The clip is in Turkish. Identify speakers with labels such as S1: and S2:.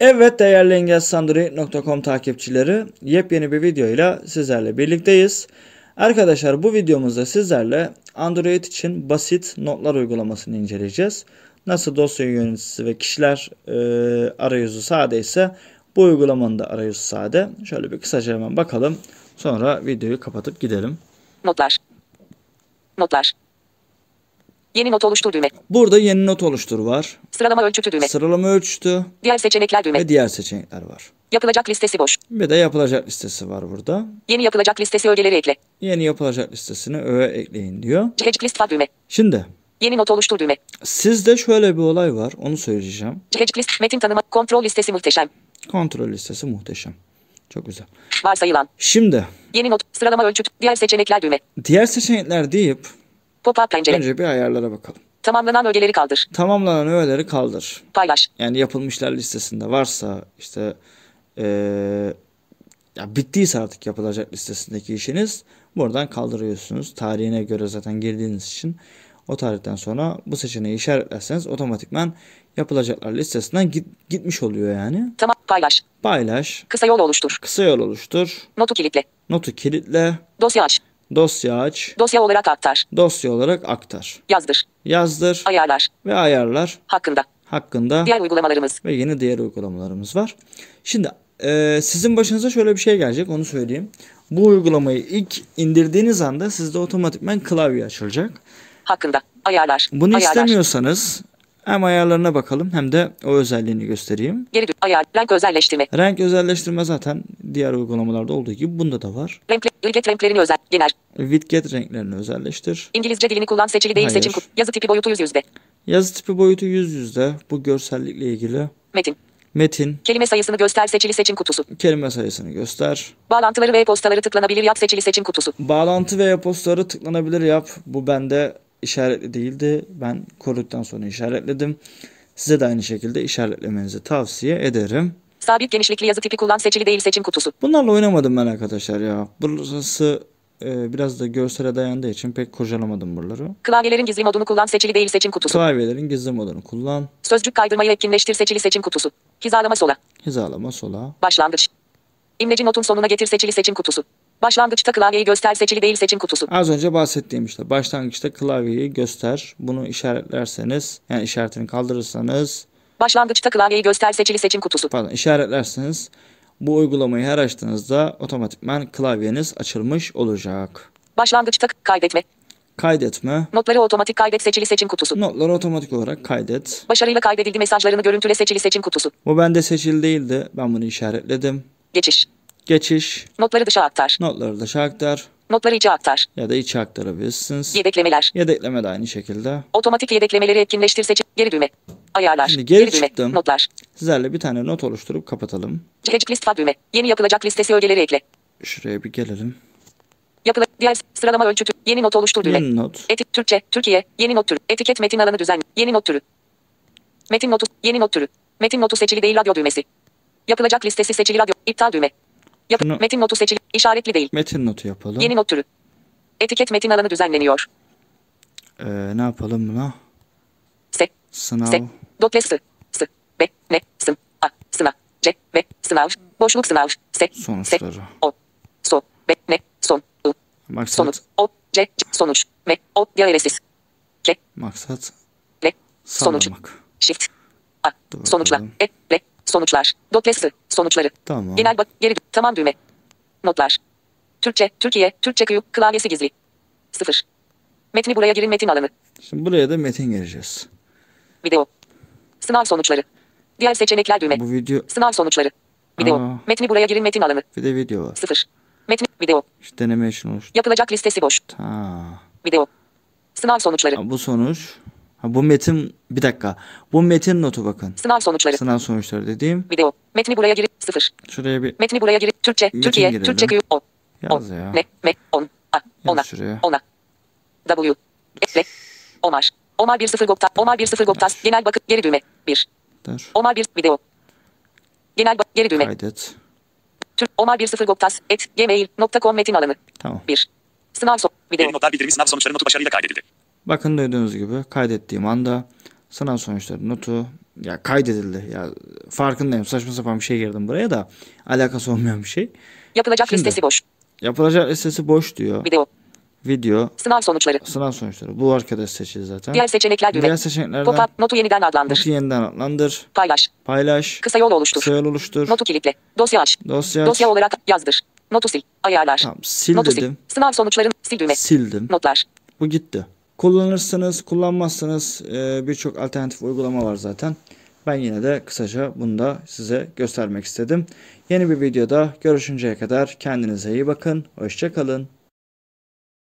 S1: Evet değerli engelsandroid.com takipçileri yepyeni bir videoyla sizlerle birlikteyiz. Arkadaşlar bu videomuzda sizlerle Android için basit notlar uygulamasını inceleyeceğiz. Nasıl dosya yöneticisi ve kişiler e, arayüzü sade ise bu uygulamanın da arayüzü sade. Şöyle bir kısaca hemen bakalım. Sonra videoyu kapatıp gidelim.
S2: Notlar. Notlar. Yeni not oluştur düğme.
S1: Burada yeni not oluştur var.
S2: Sıralama ölçütü düğme.
S1: Sıralama ölçütü
S2: Diğer seçenekler düğme.
S1: ve diğer seçenekler var.
S2: Yapılacak listesi boş.
S1: Bir de yapılacak listesi var burada.
S2: Yeni yapılacak listesi ögeleri ekle.
S1: Yeni yapılacak listesine öğe ekleyin diyor.
S2: Checklist list fa düğme.
S1: Şimdi
S2: Yeni not oluştur düğme.
S1: sizde şöyle bir olay var. Onu söyleyeceğim.
S2: Checklist list metin tanıma. Kontrol listesi muhteşem.
S1: Kontrol listesi muhteşem. Çok güzel.
S2: Varsayılan.
S1: Şimdi
S2: Yeni not. Sıralama ölçütü. Diğer seçenekler düğme.
S1: diğer seçenekler deyip
S2: Pop-up pencere.
S1: önce bir ayarlara bakalım.
S2: Tamamlanan ögeleri kaldır.
S1: Tamamlanan öğeleri kaldır.
S2: Paylaş.
S1: Yani yapılmışlar listesinde varsa işte eee, ya bittiyse artık yapılacak listesindeki işiniz buradan kaldırıyorsunuz. Tarihine göre zaten girdiğiniz için o tarihten sonra bu seçeneği işaretlerseniz otomatikman yapılacaklar listesinden git- gitmiş oluyor yani.
S2: Tamam. Paylaş.
S1: Paylaş,
S2: Kısa yol oluştur.
S1: kısa yol oluştur,
S2: Notu kilitle.
S1: notu kilitle,
S2: Dosya aç.
S1: dosya aç,
S2: Dosya olarak aktar.
S1: dosya olarak aktar,
S2: Yazdır.
S1: yazdır
S2: Ayarlar.
S1: ve ayarlar
S2: Hakkında.
S1: hakkında
S2: Diğer uygulamalarımız.
S1: ve yeni diğer uygulamalarımız var. Şimdi e, sizin başınıza şöyle bir şey gelecek onu söyleyeyim. Bu uygulamayı ilk indirdiğiniz anda sizde otomatikman klavye açılacak.
S2: Hakkında. Ayarlar.
S1: Bunu
S2: ayarlar.
S1: istemiyorsanız hem ayarlarına bakalım hem de o özelliğini göstereyim.
S2: Geri dön. Ayar. Renk özelleştirme.
S1: Renk özelleştirme zaten diğer uygulamalarda olduğu gibi bunda da var.
S2: Renkle, ilget renklerini özel. Genel.
S1: Widget renklerini özelleştir.
S2: İngilizce dilini kullan seçili değil
S1: Hayır.
S2: seçim. ku- Yazı tipi boyutu yüz yüzde.
S1: Yazı tipi boyutu 100 yüzde. Bu görsellikle ilgili
S2: Metin.
S1: metin,
S2: Kelime sayısını göster seçili seçim kutusu.
S1: kelime sayısını göster.
S2: Bağlantıları ve postaları tıklanabilir yap seçili seçim kutusu.
S1: Bağlantı ve e-postaları tıklanabilir yap. Bu bende işaretli değildi. Ben koruduktan sonra işaretledim. Size de aynı şekilde işaretlemenizi tavsiye ederim.
S2: Sabit genişlikli yazı tipi kullan seçili değil seçim kutusu.
S1: Bunlarla oynamadım ben arkadaşlar ya. Burası e, biraz da görsele dayandığı için pek kurcalamadım buraları.
S2: Klavyelerin gizli modunu kullan seçili değil seçim kutusu.
S1: Klavyelerin gizli modunu kullan.
S2: Sözcük kaydırmayı etkinleştir seçili seçim kutusu. Hizalama sola.
S1: Hizalama sola.
S2: Başlangıç. İmleci notun sonuna getir seçili seçim kutusu. Başlangıçta klavyeyi göster seçili değil seçim kutusu.
S1: Az önce bahsettiğim işte başlangıçta klavyeyi göster. Bunu işaretlerseniz yani işaretini kaldırırsanız
S2: Başlangıçta klavyeyi göster seçili seçim kutusu.
S1: pardon işaretlerseniz bu uygulamayı her açtığınızda otomatikman klavyeniz açılmış olacak.
S2: Başlangıçta kaydetme.
S1: Kaydetme.
S2: Notları otomatik kaydet seçili seçim kutusu.
S1: Notları otomatik olarak kaydet.
S2: Başarıyla kaydedildi mesajlarını görüntüle seçili seçim kutusu.
S1: Bu bende seçili değildi. Ben bunu işaretledim.
S2: Geçiş.
S1: Geçiş.
S2: Notları dışa aktar.
S1: Notları dışa aktar
S2: Notları içe aktar.
S1: ya da içe aktarabilirsiniz.
S2: Yedeklemeler.
S1: Yedekleme de aynı şekilde.
S2: Otomatik yedeklemeleri etkinleştir seç. Geri düğme. Ayarlar.
S1: Şimdi geri
S2: düğme.
S1: çıktım.
S2: Notlar.
S1: Sizlerle bir tane not oluşturup kapatalım.
S2: Checklist list fa düğme. Yeni yapılacak listesi ögeleri ekle.
S1: Şuraya bir gelelim.
S2: Yapıla diğer sıralama ölçütü. Yeni not oluştur düğme.
S1: Yeni not.
S2: Eti Türkçe, Türkiye, yeni not türü. Etiket metin alanı düzen. Yeni not türü. Metin notu, yeni not türü. Metin notu seçili değil radyo düğmesi. Yapılacak listesi seçili radyo. İptal düğme. Yap
S1: Şunu- Hmm.
S2: metin notu seçili, işaretli değil.
S1: Metin notu yapalım.
S2: Yeni not türü. Etiket metin alanı düzenleniyor.
S1: Ee, ne yapalım buna?
S2: S, S,
S1: Sınav.
S2: dotle S, S, B, N, S, A, sınav, C, B, sınav, boşluk sınav, S, S,
S1: Sonuçları.
S2: O, so, B, N, son, U,
S1: Maksat.
S2: sonuç, O, C, C, sonuç, M, O, yaresiz, K,
S1: Maksat.
S2: L, sonuç.
S1: Sallamak.
S2: Shift. A.
S1: Dur
S2: Sonuçlar.
S1: bakalım.
S2: E. Le. Sonuçlar. Dotlesi. Sonuçları.
S1: Tamam.
S2: Genel bak. Geri. dö- Tamam düğme. Notlar. Türkçe. Türkiye. Türkçe kıyı. Klavyesi gizli. Sıfır. Metni buraya girin metin alanı.
S1: Şimdi buraya da metin gireceğiz.
S2: Video. Sınav sonuçları. Diğer seçenekler düğme.
S1: Bu video
S2: Sınav sonuçları. Video.
S1: Aa.
S2: Metni buraya girin metin alanı.
S1: bir de video var.
S2: Sıfır. Metni. Video.
S1: İşte deneme için oluştu.
S2: Yapılacak listesi boş.
S1: Ha.
S2: Video. Sınav sonuçları.
S1: Ha, Bu sonuç. Ha, bu metin bir dakika. Bu metin notu bakın.
S2: Sınav sonuçları.
S1: Sınav sonuçları dediğim.
S2: Video. Metni buraya girin. Sıfır.
S1: Şuraya bir
S2: Metni buraya girin. Türkçe.
S1: Metin
S2: Türkiye.
S1: girelim.
S2: Türkçe kıyı. O.
S1: yaz ya.
S2: Ne? Me? On. A. Ona.
S1: şuraya.
S2: Ona. W. Ekle. Omar. Omar 10 Gokta. Omar 10 Gokta. Genel bakım geri düğme. 1.
S1: Der.
S2: Omar 1 video. Genel bak geri düğme.
S1: Kaydet.
S2: Türk Omar 10 Goktas et gmail.com metin alanı
S1: Tamam.
S2: 1. Sınav son video.
S3: Yeni notlar bildirimi sınav sonuçları notu başarıyla kaydedildi.
S1: Bakın duyduğunuz gibi kaydettiğim anda sınav sonuçları notu ya kaydedildi. Ya farkındayım. Saçma sapan bir şey girdim buraya da alakası olmayan bir şey.
S2: Yapılacak
S1: Şimdi.
S2: listesi boş.
S1: Yapılacak listesi boş diyor.
S2: Video.
S1: Video,
S2: Sınav sonuçları.
S1: sınav sonuçları. Bu arkadaş seçildi zaten.
S2: Diğer seçenekler düğme.
S1: Diğer seçeneklerden
S2: Pop-up. Notu yeniden adlandır.
S1: notu yeniden adlandır,
S2: Paylaş.
S1: paylaş,
S2: Kısa yol oluştur.
S1: sayıl oluştur,
S2: Notu kilitle. Dosya aç.
S1: dosya aç.
S2: Dosya olarak yazdır. Notu sil. Ayarlar.
S1: Tamam, sil
S2: Notu sil.
S1: dedim.
S2: Sınav sonuçlarını sil düğme.
S1: Sildim.
S2: Notlar.
S1: Bu gitti. Kullanırsınız, kullanmazsınız e, birçok alternatif uygulama var zaten. Ben yine de kısaca bunu da size göstermek istedim. Yeni bir videoda görüşünceye kadar kendinize iyi bakın. Hoşçakalın.